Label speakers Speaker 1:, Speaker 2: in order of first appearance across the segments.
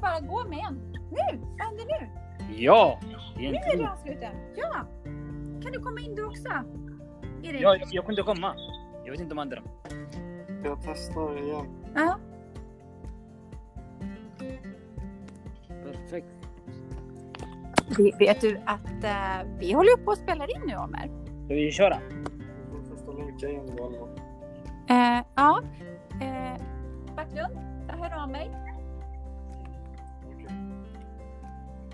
Speaker 1: bara gå med en. Nu! Vad händer nu?
Speaker 2: Ja! Det är
Speaker 1: Nu
Speaker 2: en
Speaker 1: är
Speaker 2: tro.
Speaker 1: det avsluten. Ja! Kan du komma in du också? Erik?
Speaker 2: Ja, jag, jag kunde komma. Jag vet inte om andra.
Speaker 3: Jag testar igen.
Speaker 1: Ja.
Speaker 2: Perfekt.
Speaker 1: Vi- Vet du att eh, vi håller upp och spelar in nu, Omer?
Speaker 2: Ska vi köra?
Speaker 3: Jag får testa länka igen Volvo.
Speaker 1: Eh, ja. Eh, Backlund, jag hör av mig.
Speaker 3: Okej.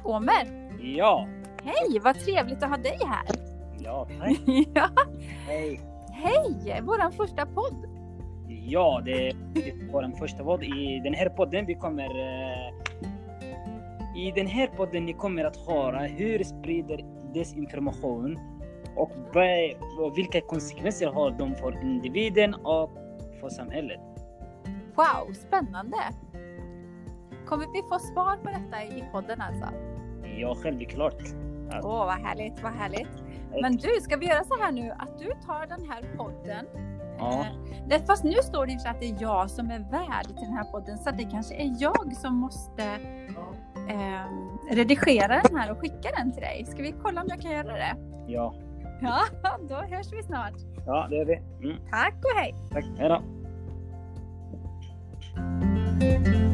Speaker 1: Omer,
Speaker 2: Ja!
Speaker 1: hej! Vad trevligt att ha dig här.
Speaker 2: Ja, tack.
Speaker 1: ja,
Speaker 2: Hej.
Speaker 1: hej! Vår första podd.
Speaker 2: Ja, det är vår första podd. I den här podden vi kommer... eh, I den här podden ni kommer att höra hur sprider desinformation och, vad- och vilka konsekvenser har de för individen och för samhället.
Speaker 1: Wow, spännande! Kommer vi få svar på detta i podden alltså?
Speaker 2: Ja, självklart.
Speaker 1: Åh, vad härligt, vad härligt. Men du, ska vi göra så här nu att du tar den här podden.
Speaker 2: Ja.
Speaker 1: Eh, det- Fast nu står det ju så att det är jag som är värd till den här podden, så det kanske är jag som måste ehm, redigera den här och skicka den till dig. Ska vi kolla om jag kan göra det?
Speaker 2: Ja,
Speaker 1: Ja, då hörs vi snart.
Speaker 2: ja det är vi. Mm,
Speaker 1: Tack och hej!
Speaker 2: tack. Hej då.